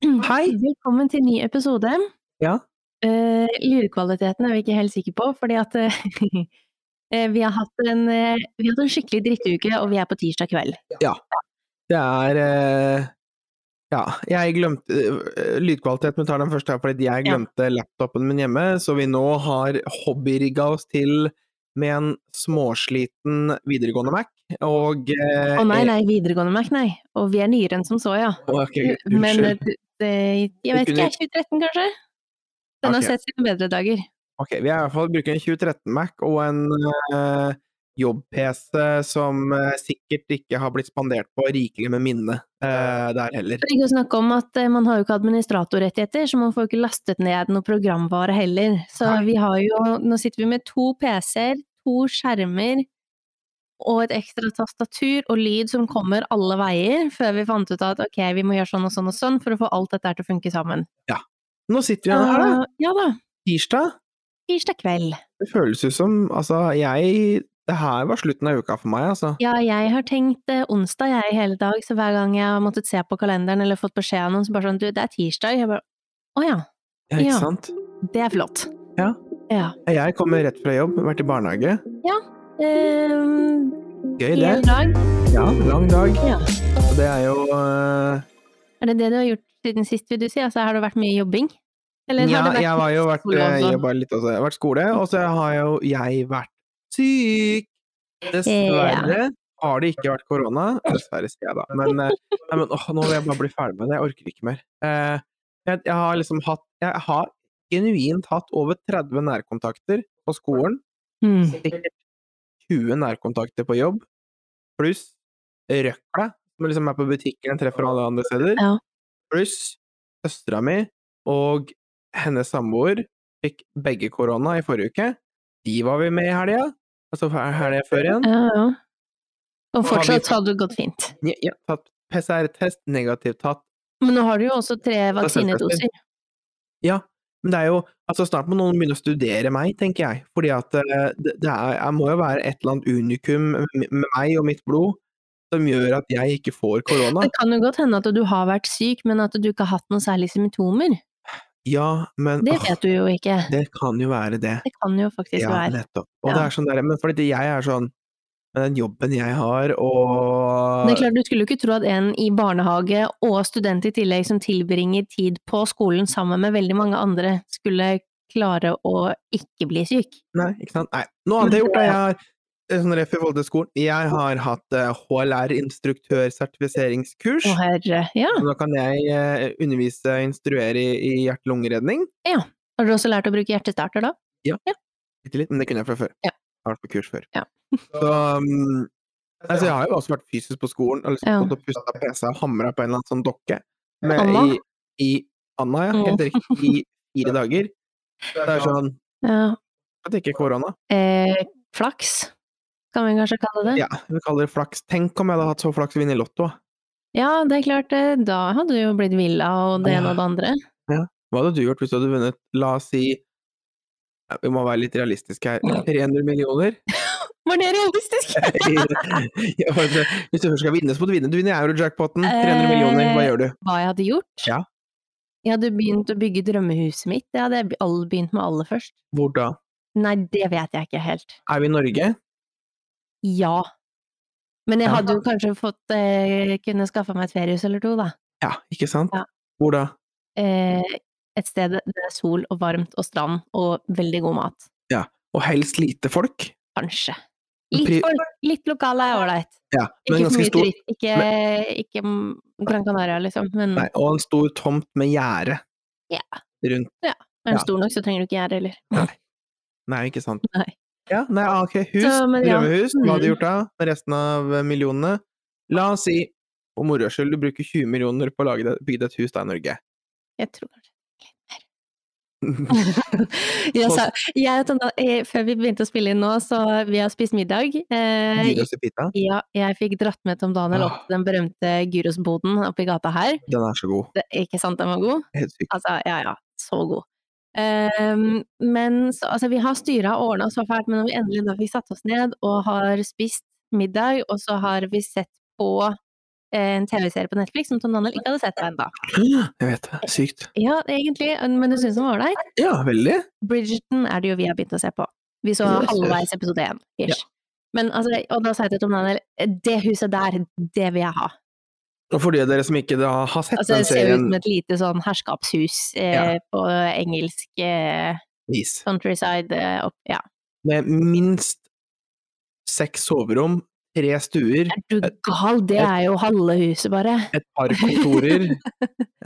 Hei! Velkommen til ny episode. Ja. Eh, lydkvaliteten er vi ikke helt sikre på, fordi at eh, eh, vi, har hatt en, eh, vi har hatt en skikkelig drittuke, og vi er på tirsdag kveld. Det er eh, Ja, jeg glemte eh, Lydkvalitet, men tar den først her, fordi jeg Ja. glemte laptopen min hjemme, så vi nå har hobbyrigga oss til med en småsliten videregående Mac, og eh, Å nei, nei, videregående Mac, nei. Og vi er nyere enn som så, ja. Ok, Men eh, unnskyld. det, jeg vet ikke, er 2013 kanskje? Den Ok. har sett sine bedre dager. Ok, vi er i hvert fall bruker en 2013 Mac og en eh, jobb-PC som eh, sikkert ikke har blitt spandert på rikelig med minne eh, der heller. For ikke å snakke om at eh, man har jo ikke administratorrettigheter, så man får jo ikke lastet ned noe programvare heller. Så Nei. vi har jo Nå sitter vi med to PC-er, to skjermer og et ekstra tastatur og lyd som kommer alle veier, før vi fant ut at ok, vi må gjøre sånn og sånn og sånn for å få alt dette her til å funke sammen. Nå sitter vi igjen her, da. Så, ja da. Tirsdag. Tirsdag kveld. Det føles ut som Altså, jeg Det her var slutten av uka for meg, altså. Ja, jeg har tenkt eh, onsdag jeg i hele dag, så hver gang jeg har måttet se på kalenderen eller fått beskjed av noen, så bare sånn du, det er tirsdag. Jeg bare å ja, Ja, ikke ja. sant? det er flott. Ja. ja. Jeg kommer rett fra jobb, vært i barnehage. Ehm, Gøy, det. Hele dag? Ja, lang dag. Ja. Og det er jo eh, Er det det du har gjort siden sist, vil du si? Altså, har det vært mye jobbing? Eller Ja, har det vært jeg har jo vært eh, skole Jeg også? jobba litt også. Jeg har vært skole, og så har jo jeg vært syk. Dessverre har det ikke vært korona. Dessverre, sier jeg da. Men, eh, nei, men åh, nå vil jeg bare bli ferdig med det. Jeg orker ikke mer. Eh, jeg, jeg har liksom hatt Jeg har genuint hatt over 30 nærkontakter på skolen. Mm. Sikkert 20 nærkontakter på jobb, pluss røkla, som liksom er på butikken jeg treffer alle andre steder, Ja. pluss søstera mi og hennes samboer fikk begge korona i forrige uke. De var vi med i helga, altså fe- helga før igjen. Ja, ja. Og vi fortsatt fått- har det gått fint. Ja, ja, tatt PCR-test, negativt tatt. Men nå har du jo også tre vaksinedoser. Men det er jo altså snart må noen begynne å studere meg, tenker jeg. Fordi at eh, det, det er, jeg må jo være et eller annet unikum med med meg og mitt blod som gjør at jeg ikke får korona. Det kan jo godt hende at du har vært syk, men at du ikke har hatt noen særlige symptomer. Ja, men Det åh, vet du jo ikke. det kan jo være det. Det kan jo faktisk Ja, være. nettopp. Og Ja. det er sånn der, men fordi jeg er sånn Med den jobben jeg har, Det er og klart, Du skulle jo ikke tro at en i barnehage og student i tillegg som tilbringer tid på skolen sammen med veldig mange andre, skulle klare å ikke bli syk. Nei, ikke sant? Nei. Noe annet jeg har gjort, da. Jeg har eh, sånn ref i forhold til skolen. Jeg har hatt eh, HLR-instruktørsertifiseringskurs. Å herre, ja. Så Nå kan jeg eh, undervise og instruere i, i hjerte-lungeredning. Har dere også lært å bruke hjertestarter da? Bitte litt, men det kunne jeg fra før. Ja. Jeg har vært på kurs før. Ja. Så um, altså, jeg har jo også vært fysisk på skolen og liksom Ja. stått og pusta PC og hamra på en eller annen sånn dokke. Med, Anna? Mm. I, i Anna, ja. Helt riktig. I fire dager. Det er sånn Ja. at det ikke er korona. Eh, flaks, kan vi kanskje kalle det? Ja, vi kaller det flaks. Tenk om jeg hadde hatt så flaks å vinne i Lotto. da. Ja, det er klart, eh, da hadde du jo blitt villa og det Ja. ene og det andre. Hva hadde du gjort hvis du hadde vunnet, la oss si ja, vi må være litt realistiske her. 300 millioner? Var det realistisk? Ja, for at, Hvis du først skal vinne, så må du vinne. Du vinner eurojackpoten. Eh, 300 millioner, hva gjør du? Hva jeg hadde gjort? Ja. Jeg hadde begynt å bygge drømmehuset mitt, det hadde jeg be- all- begynt med aller først. Hvor da? Nei, det vet jeg ikke helt. Er vi i Norge? Ja. Men jeg Ja. hadde jo kanskje fått, eh, kunne skaffa meg et feriehus eller to, da. Ja, ikke sant? Ja. Hvor da? Eh, et sted der det er sol og varmt og strand og veldig god mat. Og helst lite folk. Kanskje. Men pri- Litt folk, litt lokale er ålreit. Ja, men Ikke for ganske mye stor. turist, ikke, ikke mm, Gran Canaria, liksom. Men Nei, og en stor tomt med gjerde Ja. rundt. er den ja. stor nok, så trenger du ikke gjerde heller. Nei, ikke sant. Nei. Ja, nei, ah, ok. Hus, Så, men ja. drømmehus. Hva hadde du Mm. gjort da? Med resten av eh, millionene? La oss si, for moro skyld, du bruker 20 millioner på å lage det- bygge deg et hus da i Norge. Jeg tror kanskje jeg sa, jeg, og Tonje, eh, Før vi begynte å spille inn nå, så vi har spist middag. Eh, Gyros i altså, pita. ja, jeg fikk dratt med Tom Daniel opp til den berømte gyrosboden oppe i gata her. Den er så god. Det, ikke sant, den var god? Helt sykt. Altså, ja ja, så god. Ehm, men så, altså, vi har styra og ordna så fælt, men når vi endelig da fikk satt oss ned og har spist middag, og så har vi sett på eh, en TV-serie på Netflix som Tom Daniel ikke hadde sett ennå. Jeg vet det. Sykt. Ja, egentlig, men du syns den var ålreit? Ja, veldig. Bridgerton er det jo vi har begynt å se på. Vi så Yes. halvveis episode én. Ja. ish. Men altså, og da sa jeg til Tom Daniel det huset der, det vil jeg ha. Og for de av dere som ikke da har sett Altså, den det ser ut serien, som et lite sånn herskapshus eh, Ja. på engelsk eh, vis. countryside. Eh, opp, ja. Med minst seks soverom, tre stuer, Er du gal? eh, Det er jo halve huset, bare. et par kontorer,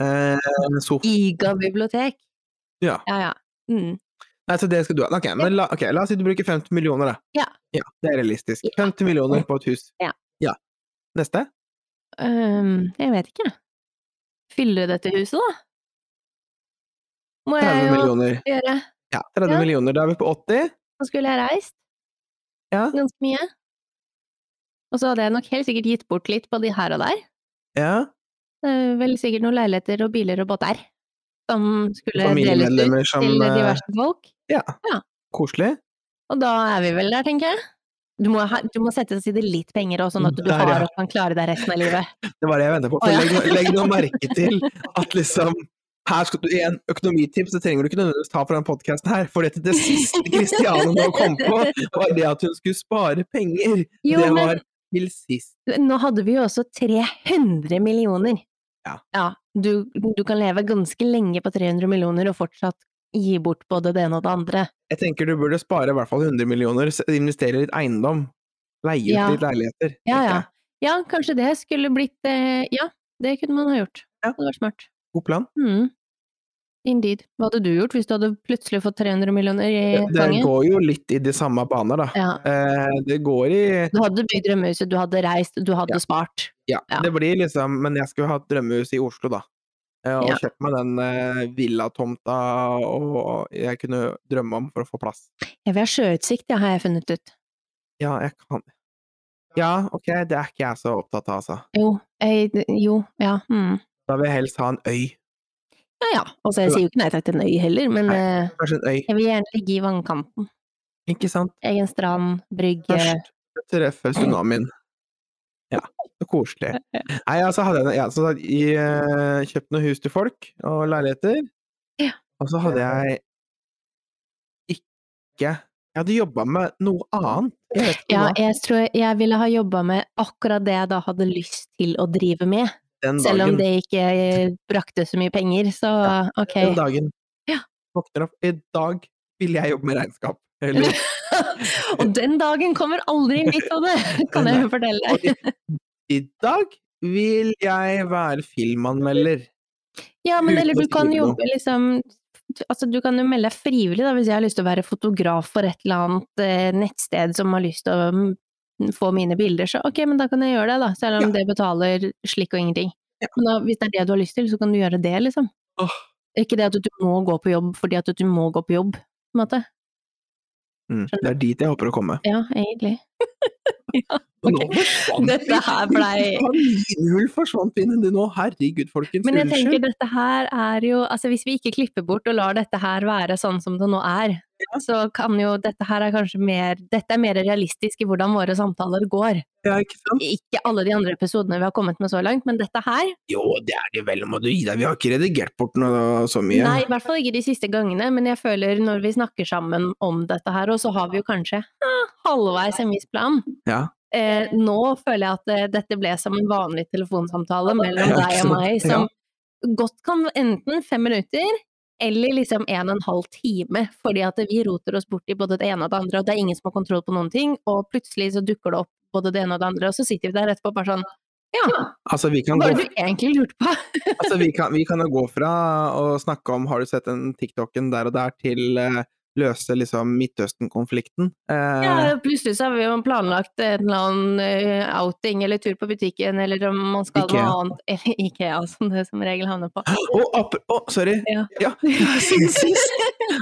eh, sofa Giga bibliotek. Ja. Ja, ja. Mm. Nei, så det skal du ha. Ok, men la, ok, la oss si du bruker 50 millioner, da. Ja. Det er realistisk. Ja. 50 millioner på et hus. Ja. Neste? Øhm, jeg vet ikke. Fylle dette huset, da? Må 30 jeg jo millioner. gjøre. Ja, 30 Eh, Ja. millioner. Da er vi på 80. Da skulle jeg reist. Ja. Ganske mye. Og så hadde jeg nok helt sikkert gitt bort litt på de her og der. Ja. Det er Vel sikkert noen leiligheter og biler og båter som skulle deles ut Familiemedlemmer som til eh, diverse folk. Koselig. Og da er vi vel der, tenker jeg. Du må, ha, du må sette til side litt penger òg, sånn at du Der, ja. har og kan klare deg resten av livet. Det var det jeg venta på. Å, For ja. legg, nå- legg nå merke til at liksom her skal du, en Økonomitips det trenger du ikke nødvendigvis ta på denne podkasten her, for dette det siste Kristiane nå kom på, var det at hun skulle spare penger. Jo, det men var til sist. nå hadde vi jo også 300 millioner. Ja. du, du kan leve ganske lenge på 300 millioner og fortsatt gi bort både det ene og det andre. Jeg tenker du burde spare i hvert fall 100 millioner, s- investere i litt eiendom. Leie ut Ja. litt leiligheter. Ja, tenker ja. jeg. Ja, kanskje det skulle blitt eh, Ja, det kunne man ha gjort. Ja. Det var smart. God plan. Mm. Indeed. Hva hadde du gjort hvis du hadde plutselig fått 300 millioner i Det, det fanget? går jo litt i de samme baner, da. Ja. Eh, det går i Du hadde bygd drømmehuset, du hadde reist, du hadde Ja. spart. ja, Ja. det blir liksom Men jeg skulle hatt drømmehus i Oslo, da. Eh, og Ja. kjøpt meg den eh, villatomta og jeg kunne drømme om for å få plass. Jeg vil ha sjøutsikt, ja, har jeg funnet ut. Ja, jeg kan Ja, ok, det er ikke jeg så opptatt av, altså. Jo. Jeg, jo. Ja. Mm. Da vil jeg helst ha en øy. Ja ja. Altså, jeg sier jo ikke nei takk til en øy heller, men eh, Kanskje en øy. jeg vil gjerne ligge i vannkanten. Ikke sant? Egen strand, brygge Først treffe tsunamien. Ja, så koselig. Nei, altså hadde jeg, ja, som sagt, i, eh, kjøpt noen hus til folk og leiligheter. Ja. Og så hadde jeg ikke Jeg hadde jobba med noe annet. Jeg vet ikke Ja, hva jeg tror jeg ville ha jobba med akkurat det jeg da hadde lyst til å drive med. den Selv om dagen. det ikke eh, brakte så mye penger, så ok. Den dagen. Ja. Våkner opp. I dag vil jeg jobbe med regnskap. Eller Og den dagen kommer aldri i mitt hode, kan jeg jo fortelle deg. i dag vil jeg være filmanmelder. Ja, men uten eller å du kan skrive noe. jobbe liksom Altså, du kan jo melde deg frivillig, da, hvis jeg har lyst til å være fotograf for et eller annet eh, nettsted som har lyst til å mm, få mine bilder, så ok, men da kan jeg gjøre det, da. Selv om det betaler slikk og ingenting. Ja. Men da, hvis det er det du har lyst til, så kan du gjøre det, liksom. Åh. Ikke det at du må gå på jobb fordi at du må gå på jobb, på en måte. Mm, det er dit jeg håper å komme. Ja, egentlig. Og Ok. nå forsvant Dette her blei- Kaninhull forsvant inn i det nå. Herregud, folkens. Men jeg tenker Unnskyld. dette her er jo Altså hvis vi ikke klipper bort og lar dette her være sånn som det nå er, så kan jo dette her er kanskje mer Dette er mer realistisk i hvordan våre samtaler går. Ja, ikke sant? Ikke alle de andre episodene vi har kommet med så langt, men dette her Jo, det er det vel, må du gi deg. Vi har ikke redigert bort noe så mye. Nei, i hvert fall ikke de siste gangene, men jeg føler når vi snakker sammen om dette her, og så har vi jo kanskje eh, halvveis en viss plan. Ja. Eh, nå føler jeg at eh, dette ble som en vanlig telefonsamtale mellom Ja, ikke deg og sant? meg, Ja. som godt kan være enten fem minutter eller liksom en og en halv time, fordi at vi roter oss bort i både det ene og det andre, og det er ingen som har kontroll på noen ting, og plutselig så dukker det opp både det ene og det andre, og så sitter vi der etterpå bare sånn Ja, Altså, vi kan, hva gå, var det du egentlig lurte på? altså, vi kan, vi kan jo gå fra å snakke om har du sett den TikToken der og der, til eh, løse liksom Midtøsten-konflikten. Eh, Ja, plutselig så har vi jo planlagt en eller annen eh, outing eller tur på butikken, eller om man skal Ikea. noe annet, eller Ikea, som det som regel havner på. og ap- å, sorry! Ja. Ja, siden sist!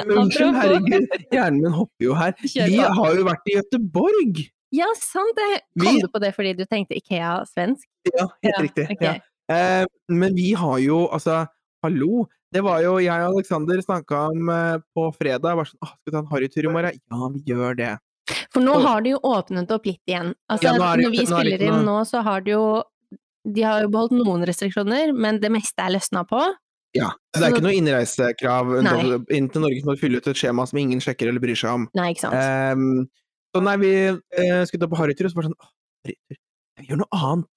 Unnskyld, Apropos. herregud. Hjernen min hopper jo her. Kjør Vi på. har jo vært i Gøteborg! Ja, sant det! Kom Vi- du på det fordi du tenkte Ikea svensk? Ja, helt Ja, riktig. ok. Ja. Eh, men vi har jo, altså, hallo. Det var jo jeg og Aleksander snakka om eh, på fredag. Bare sånn, «Åh, skal vi ta en harrytur i morgen? Ja, vi gjør det. For nå Og- har det jo åpnet opp litt igjen. Altså, Ja, nå er det- når vi nå er det spiller ikke noe- inn nå, så har det jo De har jo beholdt noen restriksjoner, men det meste er løsna på. Ja, så det er Så- ikke noe innreisekrav Nei. inn til Norge som må fylle ut et skjema som ingen sjekker eller bryr seg om. Nei, ikke sant. Ehm, så nei, vi eh, skulle ta på harrytur, og så bare sånn «Åh, Harrytur, jeg gjør noe annet.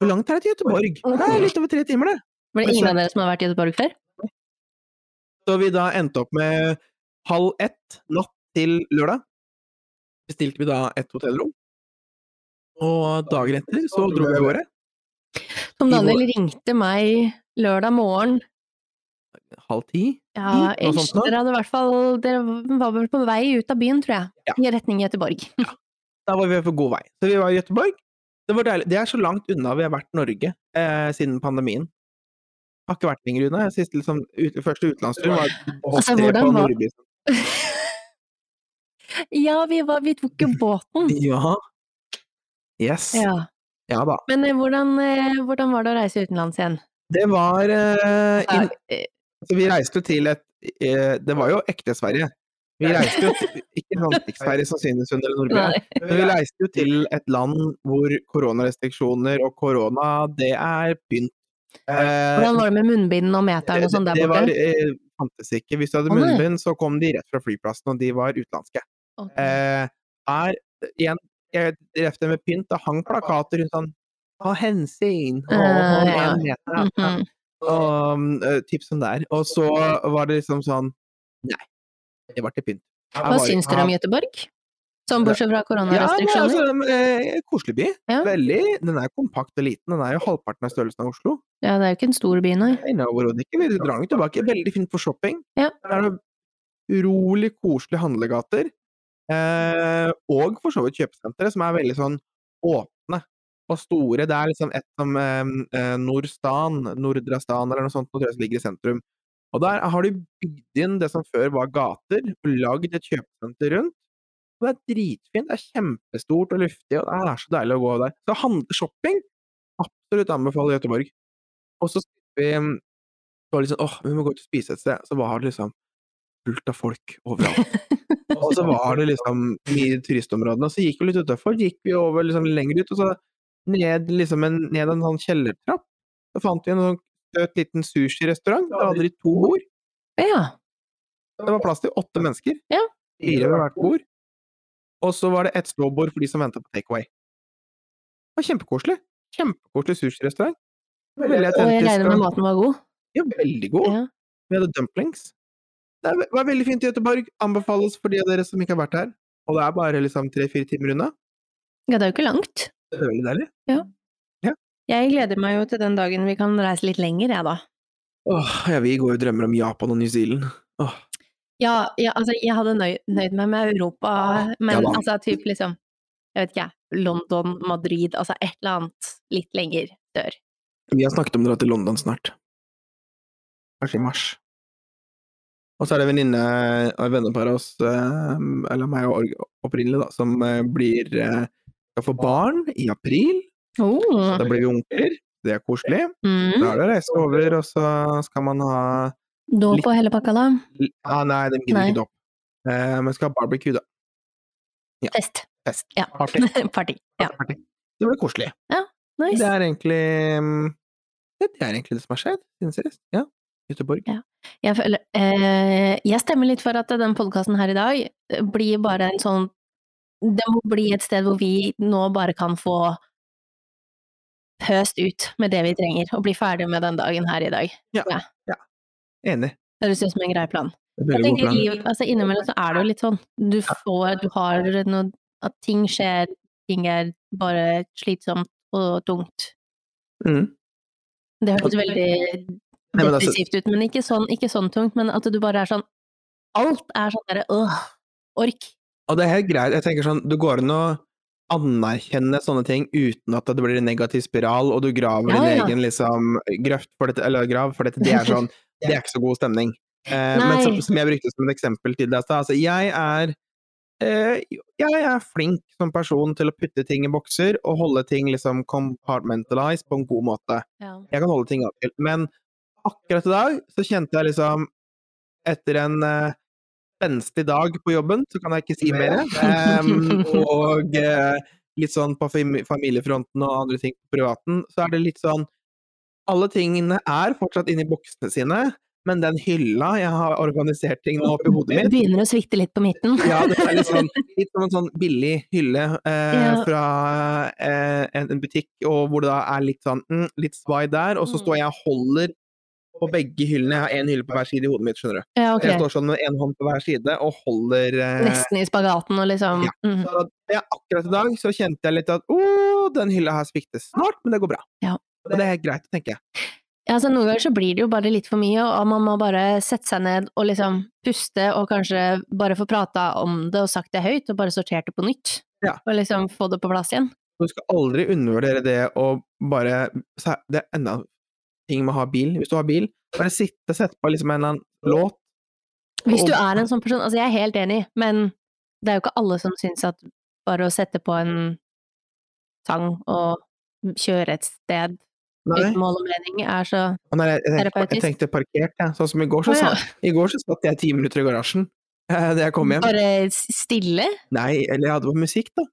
Hvor langt er det til Göteborg? Det er litt over tre timer, det. Var det ingen av dere som har vært i Göteborg før? Så vi da endte opp med halv ett natt til lørdag. Bestilte vi da et hotellrom. Og dagen etter så dro vi av gårde. Tom I Daniel vår- ringte meg lørdag morgen. Halv ti. Ja, Mm, noe ish. sånt nå. Dere hadde i hvert fall Dere var vel på vei ut av byen, tror jeg. I retning Göteborg. Da var vi på god vei. Så vi var i Göteborg. Det var deilig. Det er så langt unna vi har vært Norge eh, siden pandemien. Har ikke vært lenger unna. Siste liksom, ut, første utenlandstur var oss Altså, tre på liksom. hvordan var- Nordby. Ja, vi, var, vi tok jo båten. Ja. Yes. Ja. Ja. da. Men eh, hvordan, eh, hvordan var det å reise utenlands igjen? Det var eh, Ja, inn, eh, så Altså, Vi reiste jo til et eh, Det var jo ekte Sverige. Vi reiste jo til, ikke sånn sverige som synes under Nordby. nei. Men vi reiste jo til et land hvor koronarestriksjoner og korona, det er pynt. Eh, Hvordan var det med munnbind og meteren og sånn der det var borte? eh, fantes ikke. Hvis du hadde Å, nei. munnbind, så kom de rett fra flyplassen, og de var utenlandske. Ok. Eh, her, igjen, jeg ref det med pynt, det hang plakater rundt sånn Ta hensyn! og Eh, hold ja. en meter avstand», Mhm. og mm, eh, tips som der. Og så var det liksom sånn Nei, det var til pynt. Her Hva var- syns dere om her- Göteborg? Sånn bortsett fra ja, men koronarestriksjoner? altså, eh, Koselig by. Ja. Veldig. Den er kompakt og liten. Den er jo halvparten av størrelsen av Oslo. Ja, det er jo ikke en stor by, nei. Nei, nei, overhodet ikke. Vi drar den tilbake. Veldig fint for shopping. Ja. Det er noen urolig koselige handlegater. Eh, og for så vidt kjøpesentre som er veldig sånn åpne og store. Det er liksom et som eh, eh, Nordstan, Nordre Stan eller noe sånt, nå tror jeg som ligger i sentrum. Og der har de bygd inn det som før var gater, og lagd et kjøpesenter rundt. Og det er dritfint. Det er kjempestort og luftig, og det er så deilig å gå der. Så handle shopping absolutt anbefaler Göteborg. Og så vi um, det var liksom, åh, vi må gå ut og spise et sted. Så var det liksom fullt av folk overalt. Og så var det liksom i turistområdene. Og så gikk vi litt utafor, gikk vi over liksom lenger ut, og så ned, liksom en, ned en sånn kjellertrapp. Så fant vi en sånn søt liten sushirestaurant. Der hadde de to bord. Ja. Det var plass til åtte mennesker. Ja. Fire ved hvert bord. Og så var det ett ståbord for de som venta på takeaway. Det var kjempekoselig. Kjempekoselig sushirestaurant. Veldig Og jeg autentisk regner med og- maten var god. Ja, veldig god. Ja. Vi hadde dumplings. Det er ve- var veldig fint i Göteborg. Anbefales for de av dere som ikke har vært her. Og det er bare liksom tre-fire timer unna. ja, det er jo ikke langt. Det er veldig deilig. Jeg gleder meg jo til den dagen vi kan reise litt lenger, jeg da. Åh, ja, vi går jo og drømmer om Japan og New Zealand. Åh, Ja, ja altså, jeg hadde nøy nøyd meg med Europa, men Ja da. altså typ liksom Jeg vet ikke, jeg. London, Madrid, altså et eller annet litt lenger sør. vi har snakket om å dra til London snart. Kanskje i mars. Og så er det en venninne og vennepar av oss, eh, eller meg og Org opprinnelig, da, som eh, blir eh, skal få barn i april. Oh. Da blir vi onkler. Det er koselig. Da Mm. er det å reise over, og så skal man ha Da på hele pakka, da. Ja, nei, de gidder Nei. ikke det opp. Eh, men skal ha barbecue, da. Fest. Fest. Ja. Party. Party. Ja. Party. Det blir koselig. Det Nice. er egentlig mm, Det er egentlig det som har skjedd siden sist. Ja. Göteborg. Jeg, føler, eh, jeg stemmer litt for at den podkasten her i dag eh, blir bare en sånn Det må bli et sted hvor vi nå bare kan få pøst ut med det vi trenger, og bli ferdig med den dagen her i dag. Enig. Det høres ut som en grei plan. Det er Jeg veldig god tenker plan. liv, altså Innimellom så er det jo litt sånn. Du får Du har noe At ting skjer, ting er bare slitsomt og tungt. Mm. Det høres veldig men altså- depressivt ut, men ikke sånn, ikke sånn tungt. Men at du bare er sånn Alt er sånn derre øh, ork. Og det er helt greit. Jeg tenker sånn, det går an å anerkjenne sånne ting uten at det blir en negativ spiral, og du graver Ja, din ja. egen liksom, grøft for dette, eller grav, for dette, det er sånn, det er ikke så god stemning. Eh, men som, Nei. som jeg brukte som et eksempel til deg i stad, altså jeg er eh, jeg er flink som person til å putte ting i bokser og holde ting liksom compartmentalized på en god måte. Ja. Jeg kan holde ting atskilt. Men akkurat i dag så kjente jeg liksom Etter en eh, spenstig dag på jobben, så kan jeg ikke si mer. em, og eh, litt sånn på fami- familiefronten og andre ting på privaten, så er det litt sånn Alle tingene er fortsatt inni boksene sine, men den hylla jeg har organisert ting nå oppi hodet mitt Begynner å svikte litt på midten. ja, det er litt, sånn, litt som en sånn billig hylle eh, Ja. fra eh, en, en butikk, og hvor det da er litt sånn mm, litt svai der, Mm. og så står jeg og holder på begge hyllene. Jeg har én hylle på hver side i hodet mitt, skjønner du. Ja, Jeg ok. står sånn med én hånd på hver side og holder eh, Nesten i spagaten og liksom Ja. mm. så det er akkurat i dag så kjente jeg litt at å, den hylla her svikter snart, men det går bra. Ja. Og det er greit, tenker jeg. Ja, altså Noen ganger så blir det jo bare litt for mye, og man må bare sette seg ned og liksom puste, og kanskje bare få prata om det og sagt det høyt, og bare sortert det på nytt. Ja. Og liksom få det på plass igjen. Du skal aldri undervurdere det å bare så er- Det er enda en ting med å ha bil. Hvis du har bil, bare sitte, sette på liksom en eller annen låt. Hvis du Og- er en sånn person Altså, jeg er helt enig, men det er jo ikke alle som syns at bare å sette på en sang og kjøre et sted Nei. uten mål og mening er så Og når jeg, jeg, tenkte, jeg Terapeutisk. tenkte parkert, jeg. Sånn som i går, så, Å, ja. sa, i går så satt jeg ti minutter i garasjen eh, da jeg kom hjem. Bare s- stille Nei, eller jeg hadde på musikk, da.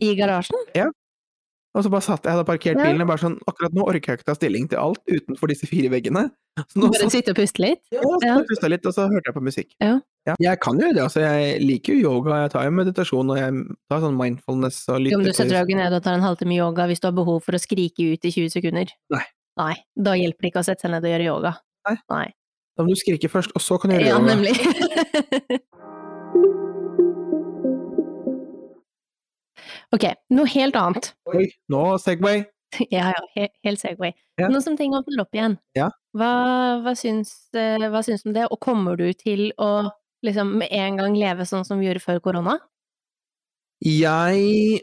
i garasjen? Og så bare satt jeg, jeg hadde parkert Ja. bilen, og bare sånn Akkurat nå orker jeg ikke ta stilling til alt utenfor disse fire veggene. Så nå Bare satt sitte og puste litt? Ja, og så Ja. pusta jeg litt, og så hørte jeg på musikk. Ja. Jeg kan jo det, altså. Jeg liker jo yoga, jeg tar jo meditasjon, og jeg tar sånn mindfulness og Om du lytter setter deg ned og tar en halvtime yoga hvis du har behov for å skrike ut i 20 sekunder? Nei. Nei, Da hjelper det ikke å sette seg ned og gjøre yoga. Nei. Da må du skrike først, og så kan du gjøre Ja, yoga. nemlig. ok, noe helt annet. Oi, nå Segway! Ja, ja, he helt segway. Ja. Nå som ting åpner opp igjen, Ja. hva, hva, syns, eh, hva syns du om det? Og kommer du til å liksom med en gang leve sånn som vi gjorde før korona? Jeg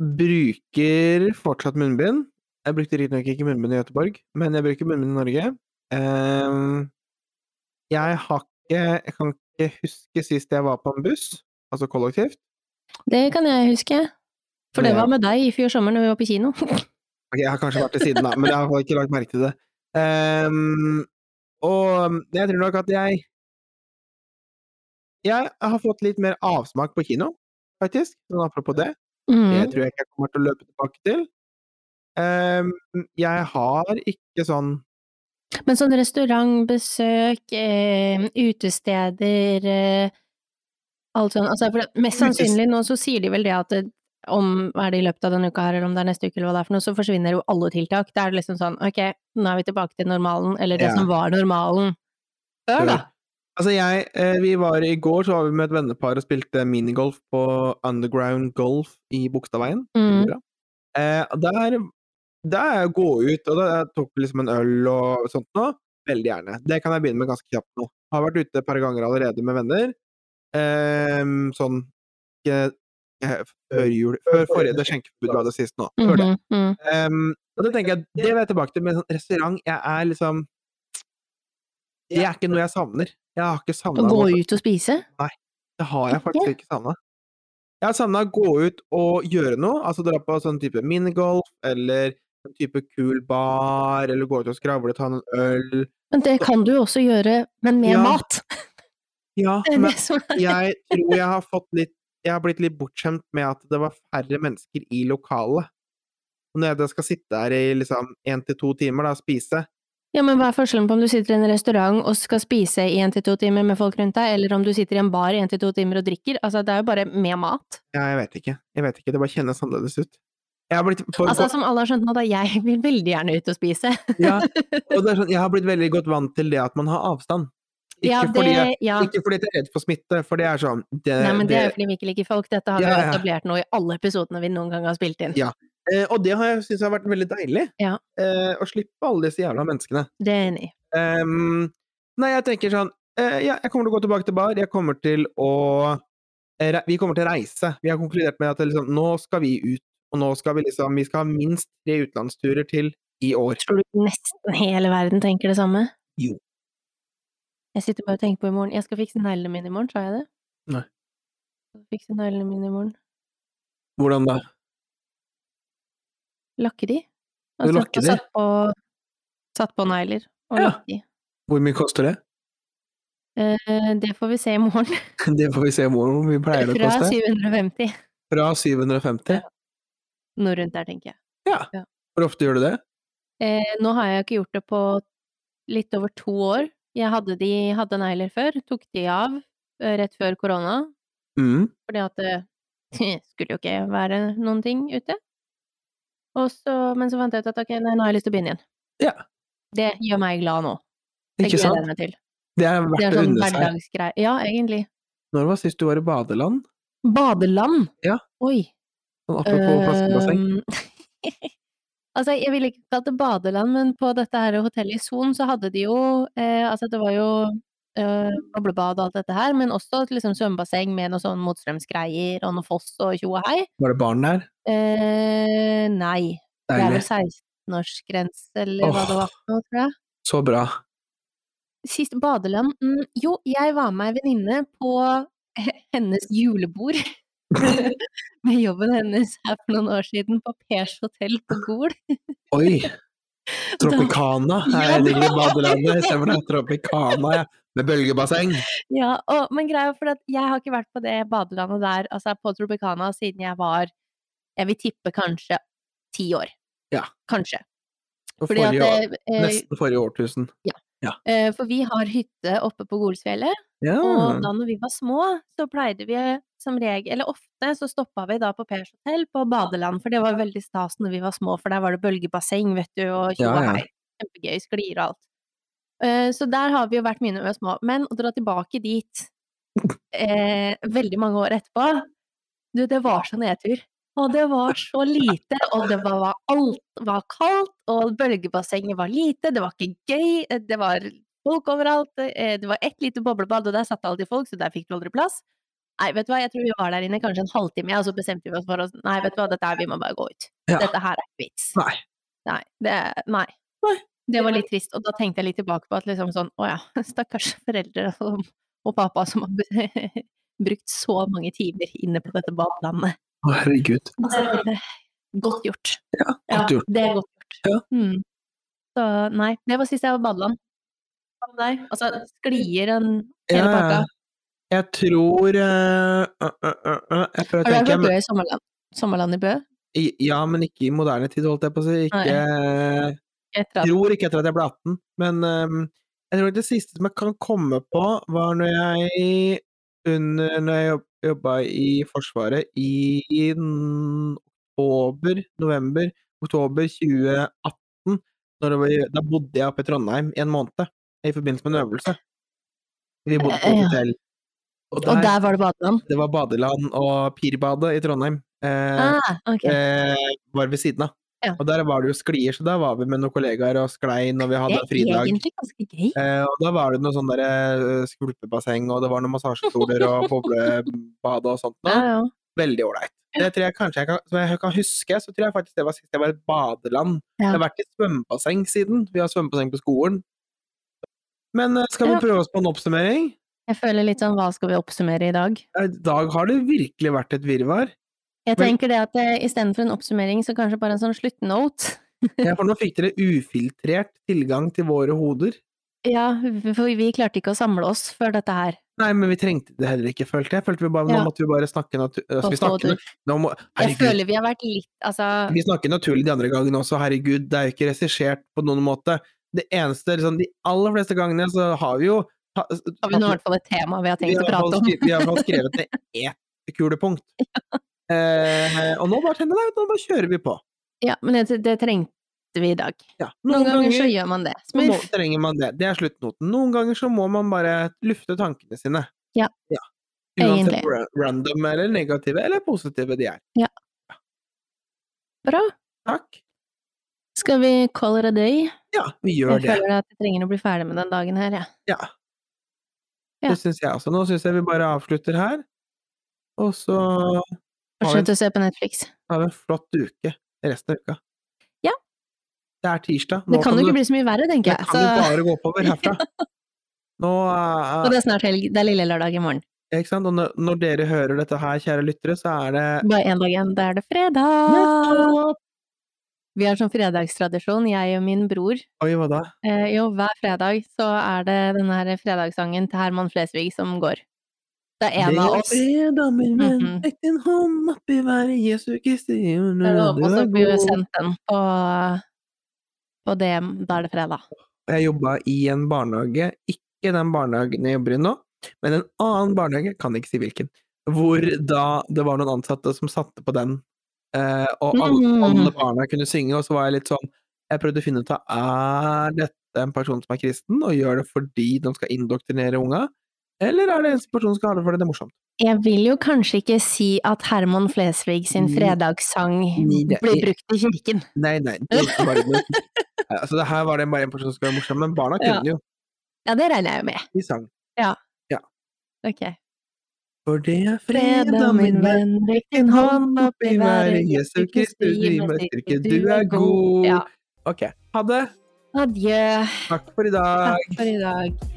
bruker fortsatt munnbind. Jeg brukte riktignok ikke munnbind i Göteborg, men jeg bruker munnbind i Norge. Ehm, jeg har ikke Jeg kan ikke huske sist jeg var på en buss, altså kollektivt. Det kan jeg huske. For det Ja. var med deg i fjor sommer når vi var på kino. Ok, jeg har kanskje vært til siden, da, men jeg har i hvert fall ikke lagt merke til det. Ehm, og jeg tror nok at jeg Jeg har fått litt mer avsmak på kino, faktisk. Sånn apropos det. Det Mm. tror jeg ikke jeg kommer til å løpe tilbake til. Ehm, jeg har ikke sånn Men sånn restaurantbesøk, eh, utesteder eh, Alt sånn. Altså, for det, mest Utest- sannsynlig nå så sier de vel det at det, om er det i løpet av denne uka her, eller om det er neste uke, eller hva det er for noe, så forsvinner jo alle tiltak. Da er det liksom sånn ok, nå er vi tilbake til normalen, eller det Ja. som var normalen før, da. Altså, jeg eh, Vi var i går, så var vi med et vennepar og spilte minigolf på Underground Golf i Bogstadveien. Mm. Bra. Eh, og der, der gå ut, og da tok vi liksom en øl og sånt nå. Veldig gjerne. Det kan jeg begynne med ganske kjapt nå. Har vært ute et par ganger allerede med venner. Ehm, sånn ikke eh, før jul Før forrige det skjenkeforbudet var det sist nå. Før Mhm, det. mm. Ehm, og det tenker jeg, det vil jeg tilbake til med en sånn restaurant. Jeg er liksom Det er ikke noe jeg savner. Jeg har ikke Å savna gå ut og spise? det har jeg Ikke? faktisk ikke savna. Jeg har savna å gå ut og gjøre noe, altså dra på sånn type minigolf eller en type kul bar, eller gå ut og skravle, ta noen øl. Men det kan du jo også gjøre, men med Ja, mat. Ja, Det er men det som er- jeg tror jeg har fått litt Jeg har blitt litt bortskjemt med at det var færre mennesker i lokalet. Og når jeg da skal sitte her i liksom én til to timer da, og spise Ja, men hva er forskjellen på om du sitter i en restaurant og skal spise i en til to timer med folk rundt deg, eller om du sitter i en bar i en til to timer og drikker? Altså, det er jo bare med mat. Ja, jeg vet ikke. Jeg vet ikke. Det bare kjennes annerledes ut. Jeg har blitt for, Altså, som alle har skjønt nå, da, jeg vil veldig gjerne ut og spise. ja, og det er sånn, jeg har blitt veldig godt vant til det at man har avstand. Ikke ja, det, fordi jeg ja. Ikke fordi jeg er redd for smitte, for det er sånn det, Nei, men det er jo det- fordi vi ikke liker folk. Dette har vi Ja, jo ja. etablert nå i alle episodene vi noen gang har spilt inn. Ja. Eh, Og det har jeg syntes har vært veldig deilig. Ja. Eh, å slippe alle disse jævla menneskene. Det er jeg enig i. Ehm, nei, jeg tenker sånn eh, Ja, jeg kommer til å gå tilbake til bar. Jeg kommer til å eh, re- Vi kommer til å reise. Vi har konkludert med at liksom, nå skal vi ut. Og nå skal vi liksom Vi skal ha minst tre utenlandsturer til i år. Tror du nesten hele verden tenker det samme? Jo. Jeg sitter bare og tenker på i morgen. Jeg skal fikse neglene mine i morgen, sa jeg det? Nei. Jeg skal Fikse neglene mine i morgen. Hvordan da? Lakke de. Du Altså, lakker de? Satt på, satt på negler og Ja. lakke de. Hvor mye koster det? Eh, Det får vi se i morgen. Det får vi se hvor mye pleier det å Fra koste. 750. Fra 750? noe rundt der, tenker jeg. Hvor ofte gjør du det? Eh, nå har jeg ikke gjort det på litt over to år. Jeg hadde de hadde negler før, tok de av eh, rett før korona, Mm. fordi at det skulle jo ikke være noen ting ute. Og så, men så fant jeg ut at ok, nei, nå har jeg lyst til å begynne igjen. Ja. Det gjør meg glad nå. Det Ikke gleder sant? jeg meg til. Det er Det verdt er å sånn unne seg. hverdagsgreie. Ja, egentlig. Når var sist du var i badeland? Badeland! Ja. Oi. Sånn apropos Eh, plaskebasseng. Øhm, altså, jeg ville ikke kalt det badeland, men på dette her hotellet i Son så hadde de jo eh, Altså, det var jo eh, boblebad og alt dette her, men også et liksom svømmebasseng med noe sånn motstrømsgreier og noe foss og tjo og hei. Var det barn der? Eh, nei. Det er vel Deilig. 16-årsgrense eller hva det Åh. var for noe, tror jeg. Så bra. Sist badeland mm, Jo, jeg var med ei venninne på he- hennes julebord med jobben hennes her for noen år siden på Pers hotell på Gol. Oi! Tropicana er Ja, jeg ligger i da- badelandet istedenfor Tropicana ja. med bølgebasseng. Ja, og, men greia er for at jeg har ikke vært på det badelandet der, altså på Tropicana, siden jeg var Jeg vil tippe kanskje ti år. Ja. Kanskje. Og Fordi at Forrige år, det, eh, nesten forrige årtusen. eh, For vi har hytte oppe på Golsfjellet. Ja. Og da når vi var små, så pleide vi som regel, eller ofte, så stoppa vi da på Pers hotell på badeland, for det var veldig stas når vi var små, for der var det bølgebasseng, vet du, og tjo Ja, og ja. hei. Kjempegøy, sklir og alt. Eh, Så der har vi jo vært mye når vi var små. Men å dra tilbake dit eh, veldig mange år etterpå, du, det var så nedtur. Og det var så lite, og det var, var alt var kaldt, og bølgebassenget var lite, det var ikke gøy, eh, det var folk overalt. eh, Det var ett lite boblebad, og der satt alltid folk, så der fikk du aldri plass. Nei, vet du hva, jeg tror vi var der inne kanskje en halvtime, og så bestemte vi oss for oss. Nei, vet du hva, dette her, vi må bare gå ut. Ja. Dette her er ikke vits. Nei. Nei, det, nei. Nei. Det var litt trist, og da tenkte jeg litt tilbake på at liksom sånn, å ja, stakkars foreldre og, og pappa som har b- brukt så mange timer inne på dette badelandet. Å, herregud. Altså, det- godt gjort. Ja, godt gjort. Det er godt gjort. Ja. Mm. Så nei, det var sist jeg var på badeland. Hva med deg? Altså, sklier en hele Ja, pakka. Jeg tror eh, øh, øh, øh, øh, Jeg Har prøver å du vært tenke. på men- Bø i sommerland? Sommerland i Bø? i- Ja, men ikke i moderne tid, holdt jeg på å si. Ikke, Etter jeg at tror ikke etter at jeg ble 18. Men ehm, jeg tror det siste som jeg kan komme på, var når jeg under når jeg jobb- jobba i Forsvaret i n- oktober, november, oktober 2018. Når det var, da bodde jeg oppe i Trondheim i en måned, i forbindelse med en øvelse. Vi bodde på Ja. hotell. Og der var det badeland? Det var badeland og Pirbadet i Trondheim. Eh, Ah, ok. eh, var ved siden av. Ja. Og der var det jo sklier, så da var vi med noen kollegaer og sklei når vi hadde en Det er fridag. egentlig ganske gøy. Eh, og da var det noe sånn der, eh, skvulpebasseng, og det var noen massasjestoler og boblebad og sånt. Ja, noe. ja. Veldig ålreit. Det tror jeg kanskje jeg kan, som jeg kan huske, så tror jeg faktisk det var sist jeg var i et badeland. Ja. Det har vært i svømmebasseng siden. Vi har svømmebasseng på skolen. Men eh, skal vi Ja. prøve oss på en oppsummering? Jeg føler litt sånn hva skal vi oppsummere i dag? Eh, I dag har det virkelig vært et virvar. Jeg Vel- tenker det at eh, istedenfor en oppsummering, så kanskje bare en sånn sluttnote. Ja, for nå fikk dere ufiltrert tilgang til våre hoder. Ja, for vi klarte ikke å samle oss før dette her. Nei, men vi trengte det heller ikke, følte jeg. Følte vi bare, Ja. Nå måtte vi bare snakke naturlig. på vi snakke, hoder. nå må, Jeg herregud, føler vi har vært litt Altså, vi snakker naturlig de andre gangene også, herregud. Det er jo ikke regissert på noen måte. Det eneste, liksom, De aller fleste gangene så har vi jo ha- har vi nå i hvert fall et tema vi har vi tenkt har å prate fått om? skri- Vi har fått skrevet ned ett kulepunkt. Eh, og nå bare tenner det ut, nå bare kjører vi på. Ja, men det, det trengte vi i dag. Ja, Noen ganger så gjør man det. så må, Smurf. trenger man det. Det er sluttnoten. Noen ganger så må man bare lufte tankene sine. Ja. Uansett Egentlig. hvor ra- random eller negative eller positive de er. Bra. Takk. Skal vi call it a day? Ja, vi Jeg gjør det. føler at jeg trenger å bli ferdig med den dagen her, jeg. Ja. Ja. Det syns jeg også. Nå syns jeg vi bare avslutter her. Og så Ja. har vi, Fortsett å se på Netflix. har vi en flott uke resten av uka. Ja. Det er tirsdag. Det kan jo ikke du- bli så mye verre, tenker det jeg. kan jo Så, bare gå oppover herfra. Nå, og eh, det er snart helg. Det er lille lørdag i morgen. ikke sant? Og når- når dere hører dette her, kjære lyttere, så er det Bare én dag igjen. Da er det fredag! Vi har sånn fredagstradisjon, jeg og min bror. Oi, hva da? Eh, jo, hver fredag så er det denne her fredagssangen til Herman Flesvig som går. Det er en av oss. Det er da, min venn. Mhm. Legg din hånd oppi været, Jesu Kristi Det er lov å bli sendt den på, på DM. Da er det fredag. Jeg jobba i en barnehage, ikke den barnehagen jeg jobber i nå, men en annen barnehage, kan ikke si hvilken, hvor da det var noen ansatte som satte på den, eh, og alle, Mm. alle barna kunne synge, og så var jeg litt sånn Jeg prøvde å finne ut av er dette en person som er kristen, og gjør det fordi de skal indoktrinere unga, eller er det en person som skal ha det fordi det er morsomt? Jeg vil jo kanskje ikke si at Herman Flesvig sin Ni- fredagssang Ni- det- blir brukt i kirken. Nei, nei. Det er bare, Eh, altså, det her var det bare en person som skulle være morsom, men barna Ja. kunne jo. Ja, det regner jeg jo med. De sang. Ok. For det er Fredag, min venn, rekk din hånd opp i været, Jesu Kristi, gi meg styrke, du er god. Ja. Ok. Ha det. Adjø. Takk for i dag. Takk for i dag.